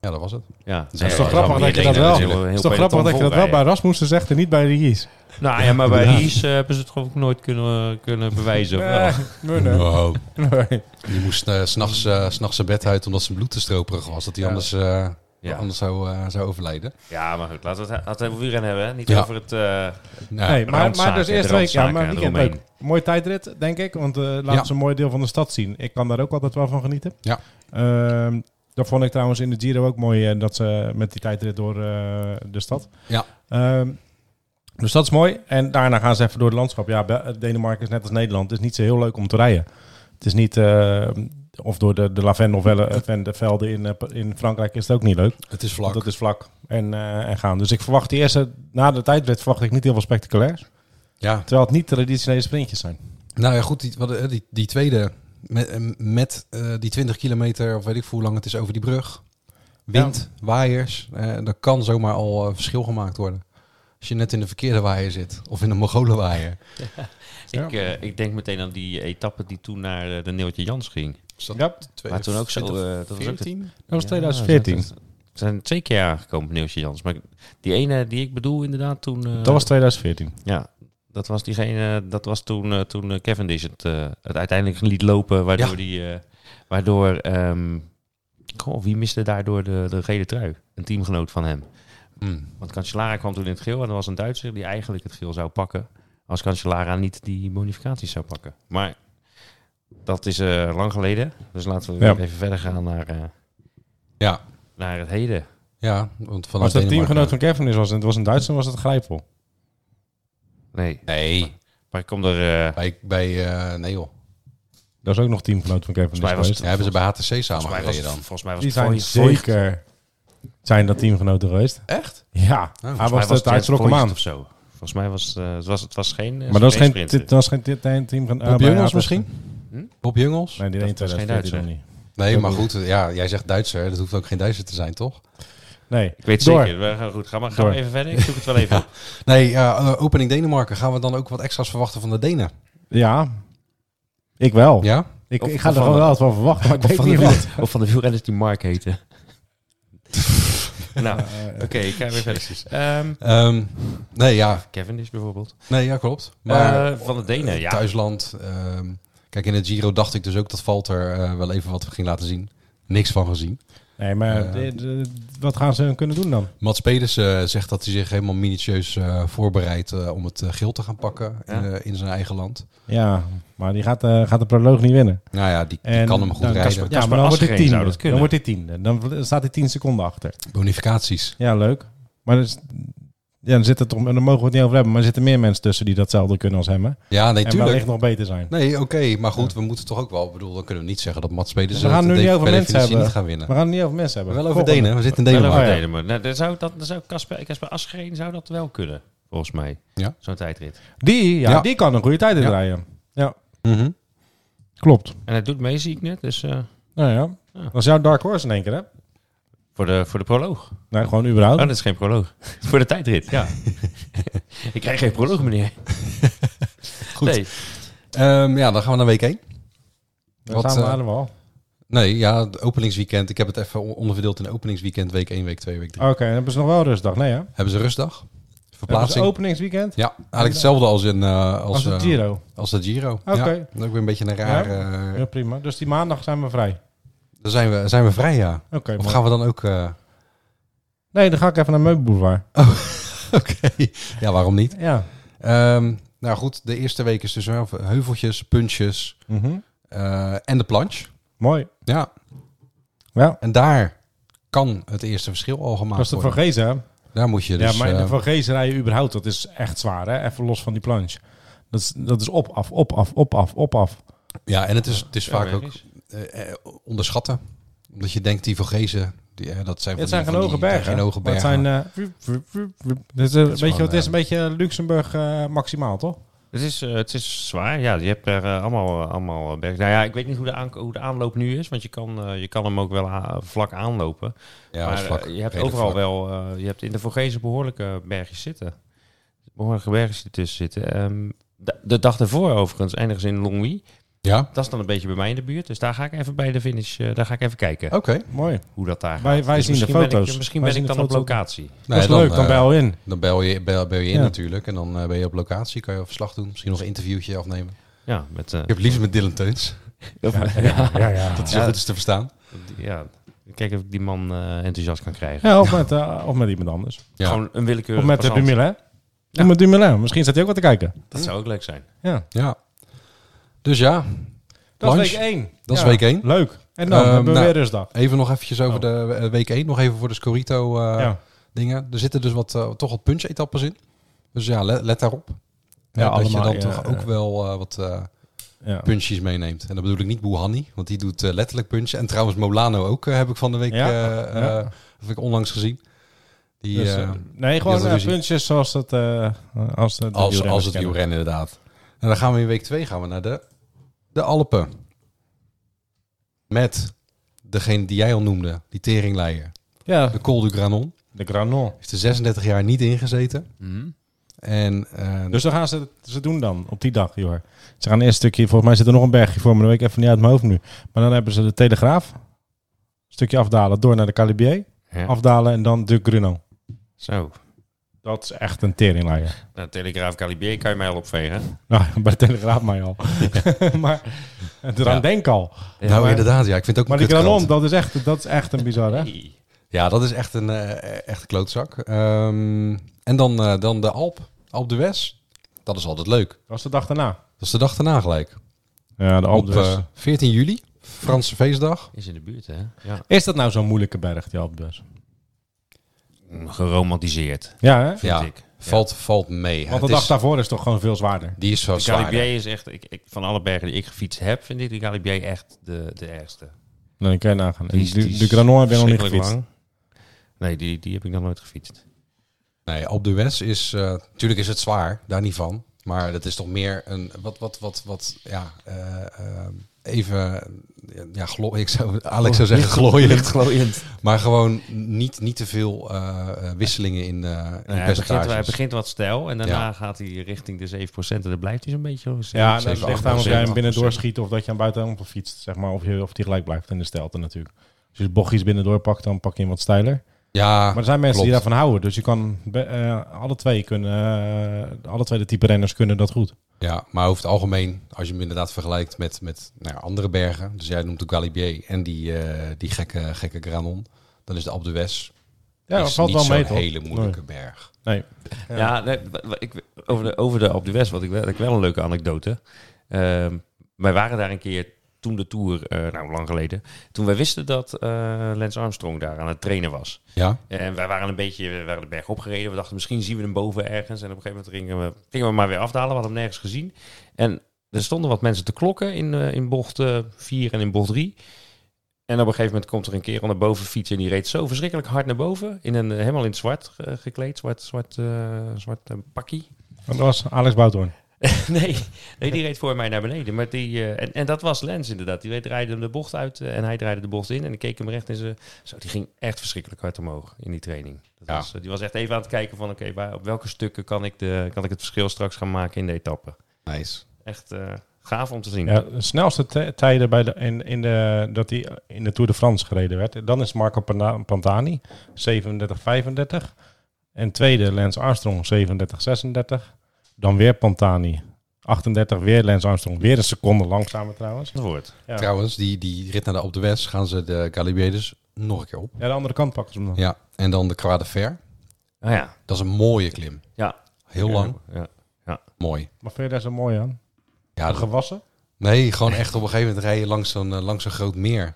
[SPEAKER 1] ja, dat was het.
[SPEAKER 3] Ja,
[SPEAKER 1] is
[SPEAKER 3] Nee,
[SPEAKER 1] toch
[SPEAKER 3] ja,
[SPEAKER 1] grappig
[SPEAKER 3] er zijn
[SPEAKER 1] dat je
[SPEAKER 3] meer
[SPEAKER 1] dat
[SPEAKER 3] dingen,
[SPEAKER 1] wel-
[SPEAKER 3] er heel-
[SPEAKER 2] Het
[SPEAKER 3] heel
[SPEAKER 2] is toch grappig dat je dat wel bij Rasmussen zegt en niet bij de Gies.
[SPEAKER 3] peloton Nou ja, maar bij
[SPEAKER 1] Ja.
[SPEAKER 3] Ries eh, hebben ze het gewoon nooit kunnen, kunnen bewijzen. of wel?
[SPEAKER 2] nee,
[SPEAKER 1] Wow.
[SPEAKER 2] nee.
[SPEAKER 1] Die moest eh, s'nachts eh, 's nachts zijn bed uit omdat zijn bloed te stroperig was. Dat hij
[SPEAKER 2] Ja.
[SPEAKER 1] anders, eh,
[SPEAKER 3] Ja.
[SPEAKER 1] anders zou, eh, zou overlijden.
[SPEAKER 3] ja, maar goed, laten we het, laten we het over wielrennen hebben. Hè? Niet
[SPEAKER 1] Ja.
[SPEAKER 3] over het... eh,
[SPEAKER 1] Nou,
[SPEAKER 2] Nee, maar, maar dus
[SPEAKER 3] Randzaken,
[SPEAKER 2] eerste
[SPEAKER 3] de
[SPEAKER 2] week, ja, maar
[SPEAKER 3] randzaken
[SPEAKER 2] weekend
[SPEAKER 3] eromheen.
[SPEAKER 2] leuk. Mooie tijdrit, denk ik, want eh laten
[SPEAKER 1] Ja.
[SPEAKER 2] ze een mooi deel van de stad zien. Ik kan daar ook altijd wel van genieten.
[SPEAKER 1] Ja.
[SPEAKER 2] Ehm, dat vond ik trouwens in de Giro ook mooi, eh, dat ze met die tijdrit door eh, de stad.
[SPEAKER 1] Ja.
[SPEAKER 2] Ehm, dus dat is mooi. En daarna gaan ze even door het landschap. Ja, Be- Denemarken is net als Nederland. Het is niet zo heel leuk om te rijden. Het is niet... eh, of door de, de lavendelvelden in, eh, in Frankrijk is het ook niet leuk.
[SPEAKER 1] het is vlak.
[SPEAKER 2] Want het is vlak en, eh, en gaan. Dus ik verwacht die eerste... Na de tijdrit verwacht ik niet heel veel spectaculairs.
[SPEAKER 1] Ja.
[SPEAKER 2] Terwijl het niet traditionele sprintjes zijn.
[SPEAKER 1] Nou ja, goed, die, wat, eh, die, die tweede met, met eh, die 20 kilometer, of weet ik veel hoe lang het is, over die brug. Wind, waaiers, eh dat kan zomaar al eh, verschil gemaakt worden. Als je net in de verkeerde waaier zit, of in een Mongolenwaaier.
[SPEAKER 2] Ja.
[SPEAKER 3] ik, eh, ik denk meteen aan die etappe die toen naar eh, de Neeltje Jans ging.
[SPEAKER 1] Is dat
[SPEAKER 2] Ja.
[SPEAKER 1] twee-
[SPEAKER 3] Maar toen ook zo... eh, dat was ook de
[SPEAKER 1] 14?
[SPEAKER 2] Dat was
[SPEAKER 3] Ja,
[SPEAKER 2] 2014.
[SPEAKER 3] ze- ze- Ze zijn twee keer aangekomen, Neeltje Jans. Maar die ene die ik bedoel inderdaad toen... eh,
[SPEAKER 2] dat was 2014.
[SPEAKER 3] Ja, dat was diegene... Dat was toen, eh, toen eh, Cavendish het, eh, het uiteindelijk liet lopen. Waardoor
[SPEAKER 1] Ja.
[SPEAKER 3] die... eh, waardoor... ehm, goh, wie miste daardoor de, de gele trui? Een teamgenoot van hem.
[SPEAKER 1] Hmm.
[SPEAKER 3] Want Cancellara kwam toen in het geel. En er was een Duitser die eigenlijk het geel zou pakken. Als Cancellara niet die bonificaties zou pakken. Maar dat is eh, lang geleden. Dus laten we
[SPEAKER 2] Ja.
[SPEAKER 3] even verder gaan naar... eh,
[SPEAKER 1] Ja,
[SPEAKER 3] naar het heden.
[SPEAKER 1] Ja, want van
[SPEAKER 2] Als dat teamgenoot van Kevin is, was het was een Duitser, was het Grijpel.
[SPEAKER 3] Nee.
[SPEAKER 1] Nee,
[SPEAKER 3] Maar ik kom er. eh,
[SPEAKER 1] bij, bij eh, nee joh.
[SPEAKER 2] Dat is ook nog teamgenoot van Kevin
[SPEAKER 3] Volgens mij
[SPEAKER 2] Nis
[SPEAKER 3] was
[SPEAKER 2] geweest.
[SPEAKER 1] Ja, hebben ze bij HTC
[SPEAKER 3] Volgens mij was
[SPEAKER 1] samengereden
[SPEAKER 3] het,
[SPEAKER 1] dan?
[SPEAKER 3] volgens mij was
[SPEAKER 2] Die
[SPEAKER 3] het
[SPEAKER 2] zijn
[SPEAKER 3] Voigt- Voigt.
[SPEAKER 2] zeker zijn dat teamgenoten geweest.
[SPEAKER 1] Echt?
[SPEAKER 2] Ja, hij
[SPEAKER 3] Volgens mij
[SPEAKER 2] was de
[SPEAKER 3] Trent
[SPEAKER 2] uitgetrokken
[SPEAKER 3] Voigt
[SPEAKER 2] maan.
[SPEAKER 3] of zo. Volgens mij was eh, het, was, het was geen. eh,
[SPEAKER 2] Maar dat was geen,
[SPEAKER 3] sprinter.
[SPEAKER 2] dit was geen dit- dit team van...
[SPEAKER 1] Bob
[SPEAKER 2] eh, bij
[SPEAKER 1] Jungels
[SPEAKER 2] ATS.
[SPEAKER 1] misschien?
[SPEAKER 3] Hm?
[SPEAKER 1] Bob Jungels? Nee,
[SPEAKER 2] Nee, die
[SPEAKER 3] Dat
[SPEAKER 2] deed
[SPEAKER 3] was geen
[SPEAKER 2] 2014 nog niet.
[SPEAKER 1] maar goed. Ja, jij zegt Duitser. Dat hoeft ook geen Duitser te zijn, toch?
[SPEAKER 2] Nee,
[SPEAKER 3] Ik weet het
[SPEAKER 2] Door.
[SPEAKER 3] zeker. We gaan goed. Ga maar, ga
[SPEAKER 2] Door.
[SPEAKER 3] maar even verder. Ik zoek het wel even op.
[SPEAKER 1] Nee, ja, eh, opening Denemarken. Gaan we dan ook wat extra's verwachten van de Denen?
[SPEAKER 2] ja. Ik wel.
[SPEAKER 1] Ja?
[SPEAKER 2] Ik,
[SPEAKER 3] Of-
[SPEAKER 2] ik ga
[SPEAKER 3] of
[SPEAKER 2] er wel
[SPEAKER 3] van-
[SPEAKER 2] wat van verwachten, maar ik
[SPEAKER 3] Of
[SPEAKER 2] weet
[SPEAKER 3] van, de
[SPEAKER 2] niet wat.
[SPEAKER 3] wiel- of van de wielrenners die Mark heten. nou, oké, ik ga weer verder. Ehm,
[SPEAKER 1] Ehm, nee, ja.
[SPEAKER 3] Kevin is bijvoorbeeld.
[SPEAKER 1] Nee, ja, klopt. Maar
[SPEAKER 2] Eh,
[SPEAKER 3] Maar eh, van de Denen, ja.
[SPEAKER 1] thuisland. ehm, kijk, in het Giro dacht ik dus ook dat Valter eh, wel even wat ging laten zien. Niks van gezien.
[SPEAKER 2] Nee, maar
[SPEAKER 1] Ja.
[SPEAKER 2] dit- dit- wat gaan ze kunnen doen dan?
[SPEAKER 1] Mats Pedersen eh, zegt dat hij zich helemaal minutieus eh, voorbereidt eh, om het eh, geel te gaan pakken in,
[SPEAKER 3] Ja.
[SPEAKER 1] eh, in zijn eigen land.
[SPEAKER 2] Ja, maar die gaat, eh, gaat de proloog niet winnen.
[SPEAKER 1] Nou ja, die, die
[SPEAKER 2] En
[SPEAKER 1] kan hem goed
[SPEAKER 2] dan-
[SPEAKER 1] rijden.
[SPEAKER 2] Ja,
[SPEAKER 3] Kasper
[SPEAKER 2] maar dan wordt hij
[SPEAKER 3] Asgreen zou
[SPEAKER 2] tiende.
[SPEAKER 3] dat
[SPEAKER 2] Dan
[SPEAKER 3] kunnen.
[SPEAKER 2] wordt hij tiende. Dan staat hij tien seconden achter.
[SPEAKER 1] Bonificaties.
[SPEAKER 2] Ja, leuk. Maar dus, ja, dan, zit er toch, dan mogen we het niet over hebben. Maar er zitten meer mensen tussen die datzelfde kunnen als hem. Hè?
[SPEAKER 1] Ja, nee,
[SPEAKER 2] en wellicht
[SPEAKER 1] tuurlijk.
[SPEAKER 2] nog beter zijn.
[SPEAKER 1] Nee, oké, maar goed, we moeten toch ook wel. Ik bedoel, dan kunnen we niet zeggen dat Mats
[SPEAKER 2] Dus
[SPEAKER 1] Pedersen
[SPEAKER 2] we gaan
[SPEAKER 1] het
[SPEAKER 2] nu
[SPEAKER 1] de-
[SPEAKER 2] niet over
[SPEAKER 1] per
[SPEAKER 2] mensen
[SPEAKER 1] definitie
[SPEAKER 2] hebben.
[SPEAKER 1] niet gaan winnen.
[SPEAKER 2] We
[SPEAKER 1] Maar
[SPEAKER 2] gaan het niet over mensen hebben.
[SPEAKER 1] wel over
[SPEAKER 2] Volgende.
[SPEAKER 1] Denen. We zitten in
[SPEAKER 3] Wel
[SPEAKER 1] Denemarken.
[SPEAKER 3] over
[SPEAKER 2] ja.
[SPEAKER 3] Denemarken. Nou, dan zou, dat, dan zou Kasper, Kasper Asgreen zou dat wel kunnen, volgens mij.
[SPEAKER 1] Ja.
[SPEAKER 3] Zo'n tijdrit.
[SPEAKER 2] Die, ja,
[SPEAKER 1] Ja.
[SPEAKER 2] die kan een goede tijd
[SPEAKER 1] Ja.
[SPEAKER 2] rijden. Ja,
[SPEAKER 1] Mhm.
[SPEAKER 2] klopt.
[SPEAKER 3] En hij doet mee, zie ik net. Dus eh,
[SPEAKER 2] Nou ja.
[SPEAKER 3] Ja.
[SPEAKER 2] Dat is jouw dark horse in één keer, hè?
[SPEAKER 3] voor, de, voor de proloog.
[SPEAKER 2] Nee, gewoon überhaupt.
[SPEAKER 3] Oh, dat is geen proloog. voor de tijdrit, ja. ik krijg geen proloog, meneer.
[SPEAKER 1] Goed.
[SPEAKER 3] Nee.
[SPEAKER 1] Ehm, ja, dan gaan we naar week 1.
[SPEAKER 2] Daar
[SPEAKER 1] wat,
[SPEAKER 2] staan we
[SPEAKER 1] eh,
[SPEAKER 2] allemaal.
[SPEAKER 1] Nee, ja, het openingsweekend. Ik heb het even on- onderverdeeld in openingsweekend, week 1, week 2, week 3.
[SPEAKER 2] Oké, dan hebben ze nog wel rustdag. Nee, hè?
[SPEAKER 1] Hebben ze rustdag?
[SPEAKER 2] Oh. Hebben ze
[SPEAKER 1] Verplaatsing?
[SPEAKER 2] openingsweekend?
[SPEAKER 1] Ja, eigenlijk hetzelfde als in eh, als,
[SPEAKER 2] Als het
[SPEAKER 1] eh,
[SPEAKER 2] Giro.
[SPEAKER 1] als de Giro.
[SPEAKER 2] Oké.
[SPEAKER 1] Ja, dat is ook weer een beetje een raar. eh,
[SPEAKER 2] Ja, prima. Dus die maandag zijn we vrij.
[SPEAKER 1] dan zijn we, zijn we vrij, ja.
[SPEAKER 2] Oké.
[SPEAKER 1] Of
[SPEAKER 2] mooi.
[SPEAKER 1] gaan we dan ook... eh,
[SPEAKER 2] Nee, dan ga ik even naar Meubelboulevard.
[SPEAKER 1] Oké, ja, waarom niet?
[SPEAKER 2] Ja.
[SPEAKER 1] Ehm, nou goed, de eerste week is dus wel heuveltjes, puntjes
[SPEAKER 2] Mhm.
[SPEAKER 1] eh, en de planche.
[SPEAKER 2] Mooi.
[SPEAKER 1] Ja,
[SPEAKER 2] Ja.
[SPEAKER 1] en daar kan het eerste verschil al gemaakt
[SPEAKER 2] Dat is de
[SPEAKER 1] worden.
[SPEAKER 2] Vorgezen, hè?
[SPEAKER 1] Daar moet je dus...
[SPEAKER 2] ja, maar in de
[SPEAKER 1] eh,
[SPEAKER 2] Vorgezen rijden überhaupt, dat is echt zwaar, hè? Even los van die planche. Dat is, dat is op, af, op, af, op, af, op, af.
[SPEAKER 1] ja, en het is, het is
[SPEAKER 3] Ja,
[SPEAKER 1] vaak
[SPEAKER 3] weet
[SPEAKER 1] ook
[SPEAKER 3] ik
[SPEAKER 1] eh, eh, onderschatten. Omdat je denkt, die Vogezen, die, eh, dat zijn van
[SPEAKER 2] Het
[SPEAKER 1] die-
[SPEAKER 2] zijn geen
[SPEAKER 1] van
[SPEAKER 2] hoge
[SPEAKER 1] die-
[SPEAKER 2] bergen.
[SPEAKER 1] Geen hoge
[SPEAKER 2] Maar
[SPEAKER 1] bergen.
[SPEAKER 2] Het zijn... eh, wup, wup, wup, wup. Dit is, eh, weet
[SPEAKER 1] gewoon,
[SPEAKER 2] je, wat het is
[SPEAKER 1] eh,
[SPEAKER 2] een beetje Luxemburg eh, maximaal, toch?
[SPEAKER 3] Het is, eh, het is zwaar, ja. Je hebt er eh, allemaal, allemaal berg. Nou ja, ik weet niet hoe de, aank- hoe de aanloop nu is, want je kan, eh, je kan hem ook wel a- vlak aanlopen.
[SPEAKER 1] ja,
[SPEAKER 3] maar
[SPEAKER 1] dat is vlak.
[SPEAKER 3] eh, je hebt
[SPEAKER 1] Redelijk
[SPEAKER 3] overal
[SPEAKER 1] vlak.
[SPEAKER 3] wel, eh, je hebt in de Vorgezen behoorlijke bergjes zitten. Behoorlijke bergjes die tussen zitten. Ehm, de, de dag daarvoor overigens eindigen ze in Longwy.
[SPEAKER 1] Ja,
[SPEAKER 3] Dat is dan een beetje bij mij in de buurt, dus daar ga ik even bij de finish, eh, daar ga ik even kijken
[SPEAKER 1] oké.
[SPEAKER 2] Mooi.
[SPEAKER 3] hoe dat daar gaat.
[SPEAKER 2] Oh. Wij- wij
[SPEAKER 3] Dus
[SPEAKER 2] zien de
[SPEAKER 3] misschien ben ik-
[SPEAKER 2] foto's.
[SPEAKER 3] misschien
[SPEAKER 2] Wij
[SPEAKER 3] ben ik
[SPEAKER 2] zien
[SPEAKER 3] dan
[SPEAKER 2] de
[SPEAKER 3] op
[SPEAKER 2] foto's.
[SPEAKER 3] locatie.
[SPEAKER 2] Dat
[SPEAKER 1] Nee,
[SPEAKER 2] is leuk, dan
[SPEAKER 1] eh,
[SPEAKER 2] bel in.
[SPEAKER 1] Dan bel je, bel, bel je in
[SPEAKER 2] Ja.
[SPEAKER 1] natuurlijk en dan eh, ben je op locatie, kan je verslag doen. Misschien nog een interviewtje afnemen.
[SPEAKER 3] Ja, met... eh,
[SPEAKER 1] Ik heb het liefst met Dylan Teuns.
[SPEAKER 2] Ja, ja, ja. ja.
[SPEAKER 1] Dat is zo goed is te verstaan.
[SPEAKER 3] ja, kijk of ik die man eh, enthousiast kan krijgen.
[SPEAKER 2] Ja, of, met, eh, of met iemand anders.
[SPEAKER 1] Ja.
[SPEAKER 3] Gewoon een
[SPEAKER 2] Of
[SPEAKER 3] willekeurig
[SPEAKER 2] met de
[SPEAKER 3] passant.
[SPEAKER 2] Dumoulin. Of met Dumoulin. Misschien staat hij ook wat te kijken.
[SPEAKER 3] Dat zou ook leuk zijn.
[SPEAKER 2] Ja.
[SPEAKER 1] Ja. Dus ja,
[SPEAKER 2] Dat
[SPEAKER 1] Lunch.
[SPEAKER 2] is week 1.
[SPEAKER 1] Dat is week één.
[SPEAKER 2] Leuk. En dan eh,
[SPEAKER 1] Ehm,
[SPEAKER 2] hebben we
[SPEAKER 1] nou,
[SPEAKER 2] weer rustdag.
[SPEAKER 1] even nog eventjes over de eh, week 1. Nog even voor de Scorito eh,
[SPEAKER 2] Oh. ja.
[SPEAKER 1] dingen. Er zitten dus wat, eh, toch wat punch-etappes in. Dus ja, le- let, daarop. Ja, dat je dan
[SPEAKER 2] ja,
[SPEAKER 1] toch ook
[SPEAKER 2] eh,
[SPEAKER 1] wel eh, wat eh
[SPEAKER 2] ja.
[SPEAKER 1] punchjes meeneemt. En dan bedoel ik niet Bouhanni, want die doet eh, letterlijk punchen. En trouwens Molano ook, eh, heb ik van de week
[SPEAKER 2] Ja,
[SPEAKER 1] eh,
[SPEAKER 2] ja.
[SPEAKER 1] eh, heb ik onlangs gezien. Die,
[SPEAKER 2] Dus,
[SPEAKER 1] eh,
[SPEAKER 2] eh, nee, gewoon
[SPEAKER 1] dat
[SPEAKER 2] eh,
[SPEAKER 1] ruzie.
[SPEAKER 2] puntjes zoals dat... eh, als, de
[SPEAKER 1] als,
[SPEAKER 2] wielrenners
[SPEAKER 1] als het
[SPEAKER 2] kennen.
[SPEAKER 1] wielrennen inderdaad. En dan gaan we in week 2 gaan we naar de, de Alpen. Met degene die jij al noemde, die teringleier.
[SPEAKER 2] Ja,
[SPEAKER 1] De Col du Granon.
[SPEAKER 2] de Granon.
[SPEAKER 1] Heeft er 36 jaar niet ingezeten. En eh,
[SPEAKER 2] Dus dan gaan ze ze doen dan, op die dag, joh. Ze gaan eerst een stukje... Volgens mij zit er nog een bergje voor me, dat weet ik even niet uit mijn hoofd nu. Maar dan hebben ze de Telegraaf. stukje afdalen, door naar de Calibier.
[SPEAKER 3] Ja.
[SPEAKER 2] Afdalen en dan de Gruno.
[SPEAKER 3] Zo.
[SPEAKER 2] Dat is echt een teringlaaier.
[SPEAKER 3] Nou, Telegraaf Calibier kan je mij al opvegen.
[SPEAKER 2] Nou, bij de Telegraaf mij al. maar eraan
[SPEAKER 1] Ja.
[SPEAKER 2] denk al.
[SPEAKER 1] nou
[SPEAKER 2] maar-
[SPEAKER 1] inderdaad, ja, ik vind het ook
[SPEAKER 2] Maar
[SPEAKER 1] een
[SPEAKER 2] die Granon,
[SPEAKER 1] kutkrant.
[SPEAKER 2] dat is echt, dat is echt een bizar, hè?
[SPEAKER 3] Hey.
[SPEAKER 1] Ja, dat is echt een eh, echt een klootzak. Ehm, en dan, eh, dan de Alp, Alp de West. Dat is altijd leuk.
[SPEAKER 2] Dat was de dag daarna.
[SPEAKER 1] Dat is de dag daarna gelijk.
[SPEAKER 2] Ja, de
[SPEAKER 1] Op
[SPEAKER 2] Alpe d'Huez.
[SPEAKER 1] eh, 14 juli, Franse feestdag.
[SPEAKER 3] Is in de buurt, hè? Ja.
[SPEAKER 2] Is dat nou zo'n moeilijke berg, die Alpe d'Huez?
[SPEAKER 3] Geromantiseerd,
[SPEAKER 2] Ja, hè?
[SPEAKER 3] vind
[SPEAKER 1] Ja.
[SPEAKER 3] ik.
[SPEAKER 1] Valt, valt mee.
[SPEAKER 2] Want de
[SPEAKER 1] Het
[SPEAKER 2] dag
[SPEAKER 1] is-
[SPEAKER 2] daarvoor is toch gewoon veel zwaarder.
[SPEAKER 1] die is zo
[SPEAKER 3] De
[SPEAKER 1] zwaar.
[SPEAKER 3] Galibier is echt, ik, ik, van alle bergen die ik gefietst heb, vind ik de Galibier echt de, de ergste.
[SPEAKER 2] Nee, kan je nagaan.
[SPEAKER 3] Die is-
[SPEAKER 2] de,
[SPEAKER 3] die is
[SPEAKER 2] de Granon heb je nog niet
[SPEAKER 3] verschrikkelijk
[SPEAKER 2] gefietst.
[SPEAKER 3] lang. Nee, die, die heb ik nog nooit gefietst.
[SPEAKER 1] Nee, Alpe d'Huez is... eh tuurlijk is het zwaar, daar niet van. Maar dat is toch meer een... Wat, wat, wat, wat... Ja, eh, eh, even... Ja, glo- ik zou, Alex zou zeggen glooiend.
[SPEAKER 3] glooiend.
[SPEAKER 1] Maar gewoon niet, niet te veel eh, eh, wisselingen in, eh in
[SPEAKER 3] Nou, hij, begint,
[SPEAKER 1] percentages.
[SPEAKER 3] hij begint wat stijl en daarna
[SPEAKER 1] Ja.
[SPEAKER 3] gaat hij richting de 7% en dan blijft hij zo'n beetje... zo-
[SPEAKER 2] Ja,
[SPEAKER 1] Zeven,
[SPEAKER 2] dat ligt
[SPEAKER 1] acht
[SPEAKER 2] aan of jij hem
[SPEAKER 1] procent.
[SPEAKER 2] binnen doorschiet of dat je hem buitenom fietst. Zeg maar, of, je, of die gelijk blijft in de stelte natuurlijk. Als je de bochtjes binnendoor pakt, dan pak je hem wat steiler.
[SPEAKER 1] Ja,
[SPEAKER 2] Maar er zijn mensen die
[SPEAKER 1] klopt.
[SPEAKER 2] daarvan houden. Dus je kan be- eh, alle twee kunnen, eh, alle twee de type renners kunnen dat goed.
[SPEAKER 1] ja, maar over het algemeen, als je hem inderdaad vergelijkt met, met nou, ja, andere bergen. Dus jij noemt de Galibier en die, eh, die gekke, gekke Granon. Dan is de Alpe d'Huez
[SPEAKER 2] Ja,
[SPEAKER 1] is
[SPEAKER 2] dat valt
[SPEAKER 1] niet
[SPEAKER 2] wel mee
[SPEAKER 1] zo'n
[SPEAKER 2] toch?
[SPEAKER 1] hele moeilijke berg.
[SPEAKER 2] Nee.
[SPEAKER 3] Ja, nee, wa- wa- ik, over, de, over de Alpe d'Huez, wat ik wel, ik wel een leuke anekdote. Ehm, wij waren daar een keer toen de Tour, eh, nou lang geleden, toen wij wisten dat eh Lance Armstrong daar aan het trainen was.
[SPEAKER 1] Ja,
[SPEAKER 3] En Eh, wij waren een beetje, we waren de berg opgereden. We dachten, misschien zien we hem boven ergens. En op een gegeven moment gingen we, gingen we maar weer afdalen. We hadden hem nergens gezien. En er stonden wat mensen te klokken in, eh, in bocht 4 en in bocht 3. En op een gegeven moment komt er een kerel naar boven fietsen. En die reed zo verschrikkelijk hard naar boven. In een, helemaal in het zwart eh, gekleed. Zwart, zwart, eh, zwart eh, pakkie.
[SPEAKER 2] Dat was Alex Bouthoorn.
[SPEAKER 3] nee, nee, die reed voor mij naar beneden. Maar die, eh, en, en dat was Lens inderdaad. Die reed- draaide hem de bocht uit eh, en hij draaide de bocht in. En ik keek hem recht in zijn... Zo, die ging echt verschrikkelijk hard omhoog in die training. Dat
[SPEAKER 1] Ja.
[SPEAKER 3] was, eh, die was echt even aan het kijken van... Oké, waar op welke stukken kan ik, de, kan ik het verschil straks gaan maken in de etappe?
[SPEAKER 1] nice.
[SPEAKER 3] Echt eh, gaaf om te
[SPEAKER 1] Hm.
[SPEAKER 3] zien.
[SPEAKER 2] Ja, de snelste t- tijden bij de, in, in de, dat hij in de Tour de France gereden werd. Dan is Marco Pana- Pantani, 37-35. En tweede Lance Armstrong, 37-36. Dan weer Pantani, 38. Weer Lance Armstrong, weer een seconde langzamer trouwens.
[SPEAKER 3] Het woord.
[SPEAKER 2] Ja.
[SPEAKER 1] Trouwens, die, die rit naar de Alpe d'Huez gaan ze de Galibier dus nog een keer op.
[SPEAKER 2] Ja, de andere kant pakken ze hem dan.
[SPEAKER 1] Ja, en dan de Croix de Fer.
[SPEAKER 3] Ah ja.
[SPEAKER 1] Dat is een mooie klim.
[SPEAKER 3] Ja.
[SPEAKER 1] Heel lang,
[SPEAKER 3] Ja.
[SPEAKER 1] mooi.
[SPEAKER 2] Maar vind je daar zo mooi aan?
[SPEAKER 1] Ja,
[SPEAKER 2] Gewassen?
[SPEAKER 1] nee, gewoon echt op een gegeven moment rijden langs zo'n eh, langs zo'n groot meer.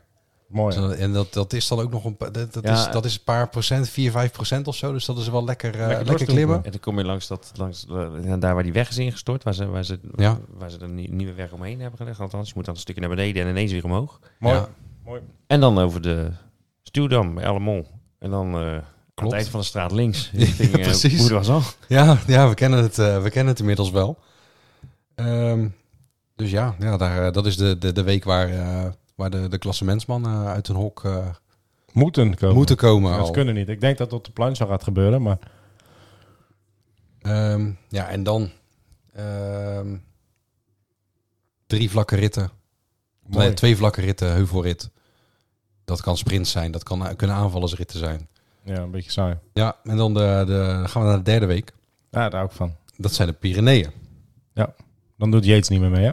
[SPEAKER 2] Mooi.
[SPEAKER 1] Zo, En dat, dat is dan ook nog een pa- dat, dat,
[SPEAKER 3] Ja.
[SPEAKER 1] is, dat is een paar procent, 4, 5 procent of zo. Dus dat is wel lekker, eh, lekker,
[SPEAKER 2] doorstoepen.
[SPEAKER 1] klimmen.
[SPEAKER 3] En dan kom je langs, dat, langs eh, ja, daar waar die weg is ingestort. Waar ze, waar ze,
[SPEAKER 1] Ja.
[SPEAKER 3] waar ze een nie- nieuwe weg omheen hebben gelegd. Althans, je moet dan een stukje naar beneden en ineens weer omhoog.
[SPEAKER 2] Mooi.
[SPEAKER 1] Ja.
[SPEAKER 2] Mooi.
[SPEAKER 3] En dan over de Stuwdam, bij Allemol. En dan eh aan
[SPEAKER 1] Klopt.
[SPEAKER 3] het eind van de straat links. Richting, eh,
[SPEAKER 1] precies.
[SPEAKER 3] Hoe was al?
[SPEAKER 1] Ja, ja we, kennen het, eh, we kennen het inmiddels wel. Ehm, dus ja, ja daar, eh, dat is de, de, de week waar, eh, waar de, de klassementsmannen uit hun hok eh,
[SPEAKER 2] Moeten komen.
[SPEAKER 1] moeten komen.
[SPEAKER 2] Dat
[SPEAKER 1] al.
[SPEAKER 2] kunnen niet. Ik denk dat dat op de plancha gaat gebeuren, maar
[SPEAKER 1] Ehm, ja, en dan ehm, drie vlakke ritten.
[SPEAKER 2] Mooi.
[SPEAKER 1] Nee, twee vlakke ritten, heuvelrit. Dat kan sprint zijn, dat kan, eh, kunnen aanvallersritten zijn.
[SPEAKER 2] ja, een beetje saai.
[SPEAKER 1] Ja, en dan de, de, dan gaan we naar de derde week.
[SPEAKER 2] Ja, daar ook van.
[SPEAKER 1] Dat zijn de Pyreneeën.
[SPEAKER 2] Dan doet Yates niet meer mee, hè?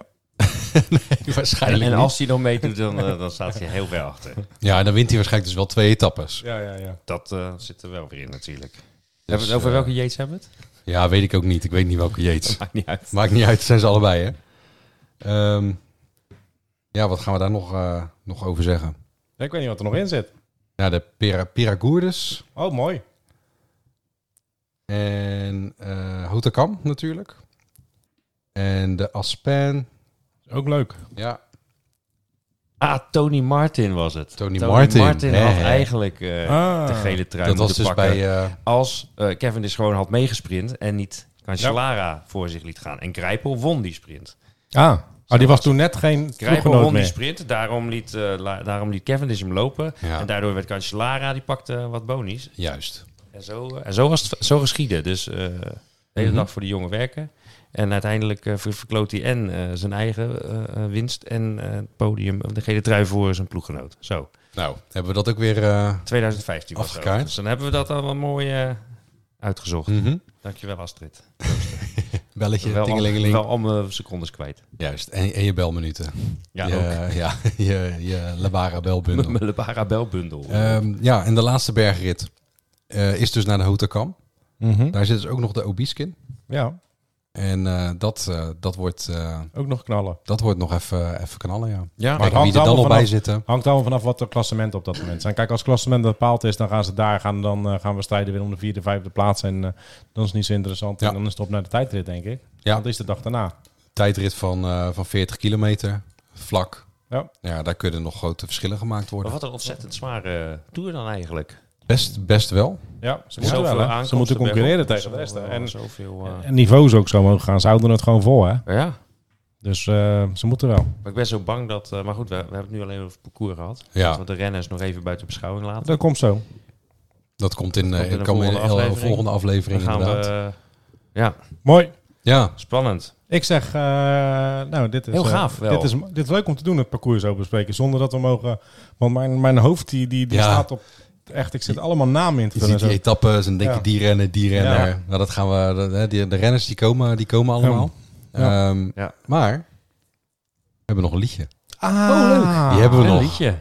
[SPEAKER 1] waarschijnlijk
[SPEAKER 3] en als hij dan meedoet, dan, eh, dan staat hij heel ver achter.
[SPEAKER 1] Ja, en dan wint hij waarschijnlijk dus wel twee etappes.
[SPEAKER 2] Ja, ja, ja.
[SPEAKER 3] Dat eh, zit er wel weer in natuurlijk.
[SPEAKER 1] Dus,
[SPEAKER 3] hebben we het over
[SPEAKER 1] eh,
[SPEAKER 3] welke Yates hebben we het?
[SPEAKER 1] Ja, weet ik ook niet. Ik weet niet welke Yates.
[SPEAKER 3] Maakt niet uit.
[SPEAKER 1] Maakt niet uit, het zijn ze allebei, hè? Ehm, ja, wat gaan we daar nog, eh, nog over zeggen?
[SPEAKER 2] Ik weet niet wat er nog in zit.
[SPEAKER 1] Ja, de Pira Piragourdes
[SPEAKER 2] Oh, mooi.
[SPEAKER 1] en eh Hotakam natuurlijk. En de Aspen,
[SPEAKER 2] Ook leuk.
[SPEAKER 1] ja.
[SPEAKER 3] Ah, Tony Martin was het.
[SPEAKER 1] Tony Martin, hè,
[SPEAKER 3] had
[SPEAKER 1] hè.
[SPEAKER 3] eigenlijk eh,
[SPEAKER 2] Ah.
[SPEAKER 3] de gele trui
[SPEAKER 1] dat was
[SPEAKER 3] moeten
[SPEAKER 1] dus
[SPEAKER 3] pakken.
[SPEAKER 1] bij... eh,
[SPEAKER 3] Als eh Kevin dus gewoon had meegesprint en niet Cancellara voor zich liet gaan. En Grijpel won die sprint.
[SPEAKER 2] Ah, oh, die was toen net geen
[SPEAKER 3] Grijpel
[SPEAKER 2] ploeggenoot
[SPEAKER 3] won die
[SPEAKER 2] meer.
[SPEAKER 3] sprint, daarom liet, eh, la- daarom liet Cavendish hem lopen.
[SPEAKER 1] Ja.
[SPEAKER 3] En daardoor werd Cancellara, die pakte wat bonies.
[SPEAKER 1] juist.
[SPEAKER 3] En zo, eh, en zo was het zo geschieden. Dus eh, de hele
[SPEAKER 2] Mhm.
[SPEAKER 3] dag voor die jongen werken. En uiteindelijk eh, ver- verkloot hij en eh, zijn eigen eh, eh, winst en eh, het podium, eh, de gele trui voor zijn ploeggenoot. Zo,
[SPEAKER 1] Nou, hebben we dat ook weer... eh,
[SPEAKER 3] 2015 was dat.
[SPEAKER 1] Afgekaart.
[SPEAKER 3] Dus dan hebben we dat allemaal mooi eh, uitgezocht.
[SPEAKER 1] mhm.
[SPEAKER 3] Dankjewel Astrid.
[SPEAKER 1] Belletje,
[SPEAKER 3] Wel, al-
[SPEAKER 1] tingelingeling.
[SPEAKER 3] wel allemaal secondes kwijt.
[SPEAKER 1] Juist, en, en je belminuten.
[SPEAKER 3] Ja,
[SPEAKER 1] je,
[SPEAKER 3] ook.
[SPEAKER 1] Ja, je, je Labara belbundel.
[SPEAKER 3] Mijn Lebara Belbundel.
[SPEAKER 1] Ehm, ja, en de laatste bergrit eh, is dus naar de Hotakam.
[SPEAKER 2] Mhm.
[SPEAKER 1] Daar zit dus ook nog de Obiskin.
[SPEAKER 2] Ja,
[SPEAKER 1] En eh, dat, eh, dat, wordt, eh,
[SPEAKER 2] Ook nog knallen.
[SPEAKER 1] dat wordt nog even, even knallen, ja.
[SPEAKER 3] Ja,
[SPEAKER 1] Maar
[SPEAKER 2] hangt
[SPEAKER 1] wie er dan
[SPEAKER 2] allemaal
[SPEAKER 1] nog bij
[SPEAKER 2] vanaf.
[SPEAKER 1] zitten.
[SPEAKER 2] Hangt allemaal vanaf wat de klassementen op dat moment zijn. Kijk, als klassement bepaald is, dan gaan ze daar gaan, dan eh, gaan we strijden weer om de vierde, vijfde plaats. En eh, dan is het niet zo interessant.
[SPEAKER 1] Ja.
[SPEAKER 2] En dan is het op naar de tijdrit, denk ik.
[SPEAKER 1] Ja.
[SPEAKER 2] Ja. Dat is de dag daarna.
[SPEAKER 1] Tijdrit van, eh, van 40 kilometer, vlak.
[SPEAKER 2] Ja.
[SPEAKER 1] ja, daar kunnen nog grote verschillen gemaakt
[SPEAKER 3] maar
[SPEAKER 1] worden.
[SPEAKER 3] wat een ontzettend zware tour dan eigenlijk.
[SPEAKER 1] Best, best wel.
[SPEAKER 2] Ja, ze moeten
[SPEAKER 3] Zoveel
[SPEAKER 2] wel. hè. Ze
[SPEAKER 3] aankomsten
[SPEAKER 2] moeten concurreren
[SPEAKER 3] bergop,
[SPEAKER 2] tegen de rest. hè.
[SPEAKER 3] zoveel-
[SPEAKER 2] En,
[SPEAKER 3] zoveel, eh,
[SPEAKER 2] en niveaus ook zo omhoog gaan. Ze houden het gewoon vol, hè.
[SPEAKER 3] ja.
[SPEAKER 2] Dus eh, ze moeten wel.
[SPEAKER 3] Maar ik ben zo bang dat... eh, maar goed, we, we hebben het nu alleen over het parcours gehad.
[SPEAKER 1] Ja,
[SPEAKER 3] Laten we de renners nog even buiten beschouwing laten.
[SPEAKER 2] Dat komt zo.
[SPEAKER 1] dat komt in,
[SPEAKER 3] komt in
[SPEAKER 1] eh
[SPEAKER 3] een
[SPEAKER 1] komen in
[SPEAKER 3] volgende
[SPEAKER 1] de
[SPEAKER 3] aflevering.
[SPEAKER 1] volgende
[SPEAKER 3] Dan
[SPEAKER 1] aflevering
[SPEAKER 3] gaan
[SPEAKER 1] inderdaad.
[SPEAKER 3] we... eh, Ja,
[SPEAKER 2] Mooi.
[SPEAKER 1] Ja,
[SPEAKER 3] spannend.
[SPEAKER 2] Ik zeg, eh, nou, dit is...
[SPEAKER 3] Heel
[SPEAKER 2] eh,
[SPEAKER 3] gaaf wel.
[SPEAKER 2] Dit is, dit is leuk om te doen, het parcours zo bespreken. Zonder dat we mogen... Want mijn, mijn hoofd, die, die, die
[SPEAKER 1] Ja.
[SPEAKER 2] staat op... Echt, ik zit allemaal namen in te
[SPEAKER 1] je
[SPEAKER 2] vullen.
[SPEAKER 1] ziet
[SPEAKER 2] en
[SPEAKER 1] die
[SPEAKER 2] zo.
[SPEAKER 1] etappes en denk je
[SPEAKER 2] Ja.
[SPEAKER 1] die rennen, die renner.
[SPEAKER 2] Ja.
[SPEAKER 1] Nou, dat gaan we, dat, hè, die, de renners die komen, die komen allemaal.
[SPEAKER 2] Ja.
[SPEAKER 1] Ehm,
[SPEAKER 3] Ja.
[SPEAKER 1] Maar we hebben nog een liedje.
[SPEAKER 2] Ah,
[SPEAKER 1] Die hebben we
[SPEAKER 3] een
[SPEAKER 1] nog.
[SPEAKER 3] liedje.